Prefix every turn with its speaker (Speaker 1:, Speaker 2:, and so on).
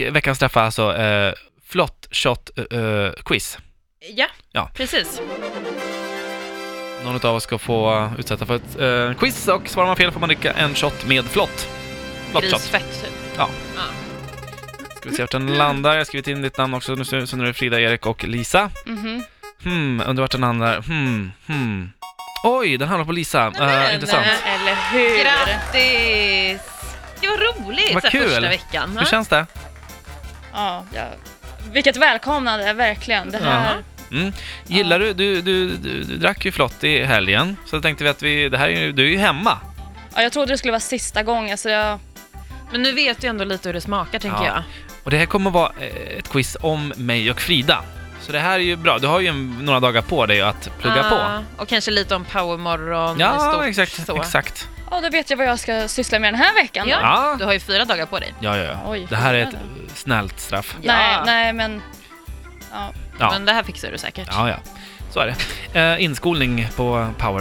Speaker 1: Veckans träff är alltså eh, flott shot eh, eh, quiz.
Speaker 2: Ja,
Speaker 1: Ja.
Speaker 2: precis.
Speaker 1: Någon av oss ska få utsätta för ett eh, quiz och svarar man fel får man dricka en shot med flott. Flott shot.
Speaker 2: Grisfett, typ.
Speaker 1: Ska vi se vart den landar. Jag har skrivit in ditt namn också, nu, så nu är det Frida, Erik och Lisa.
Speaker 2: Mhm.
Speaker 1: Hmm, undrar vart den hamnar. Hmm, hmm. Oj, den hamnar på Lisa. Eh,
Speaker 2: Men,
Speaker 1: intressant.
Speaker 2: eh,
Speaker 3: Eller hur?
Speaker 2: Grattis! Det var roligt
Speaker 1: Vad
Speaker 2: så här,
Speaker 1: kul.
Speaker 2: första veckan.
Speaker 1: Hur
Speaker 2: va?
Speaker 1: känns det?
Speaker 3: Ja, ja. Vilket välkomnande, verkligen. Det här,
Speaker 1: Mm. Gillar du, du, du, du, du drack ju flott i helgen, så då tänkte vi att vi, det här är ju, du är ju hemma.
Speaker 3: ja, jag trodde det skulle vara sista gången, så jag...
Speaker 2: Men nu vet du ändå lite hur det smakar, tänker
Speaker 1: Ja.
Speaker 2: jag.
Speaker 1: Och det här kommer att vara eh, ett quiz om mig och Frida. Så det här är ju bra, du har ju en, några dagar på dig att plugga på.
Speaker 2: Ah, Och kanske lite om powermorgon. i
Speaker 1: Ja,
Speaker 2: stort,
Speaker 1: exakt,
Speaker 2: så.
Speaker 1: exakt.
Speaker 3: Ja, då vet jag vad jag ska syssla med den här veckan.
Speaker 2: Ja.
Speaker 1: Ja.
Speaker 2: Du har ju fyra dagar på dig.
Speaker 1: Ja, ja, ja.
Speaker 3: Oj,
Speaker 1: det här är ett
Speaker 3: vad
Speaker 1: eh, snällt straff.
Speaker 3: Nej,
Speaker 2: Ja.
Speaker 3: nej, men... Ja.
Speaker 1: Ja.
Speaker 2: Men det här fixar du säkert.
Speaker 1: Ja, ja. Så är det. Eh, inskolning på Power.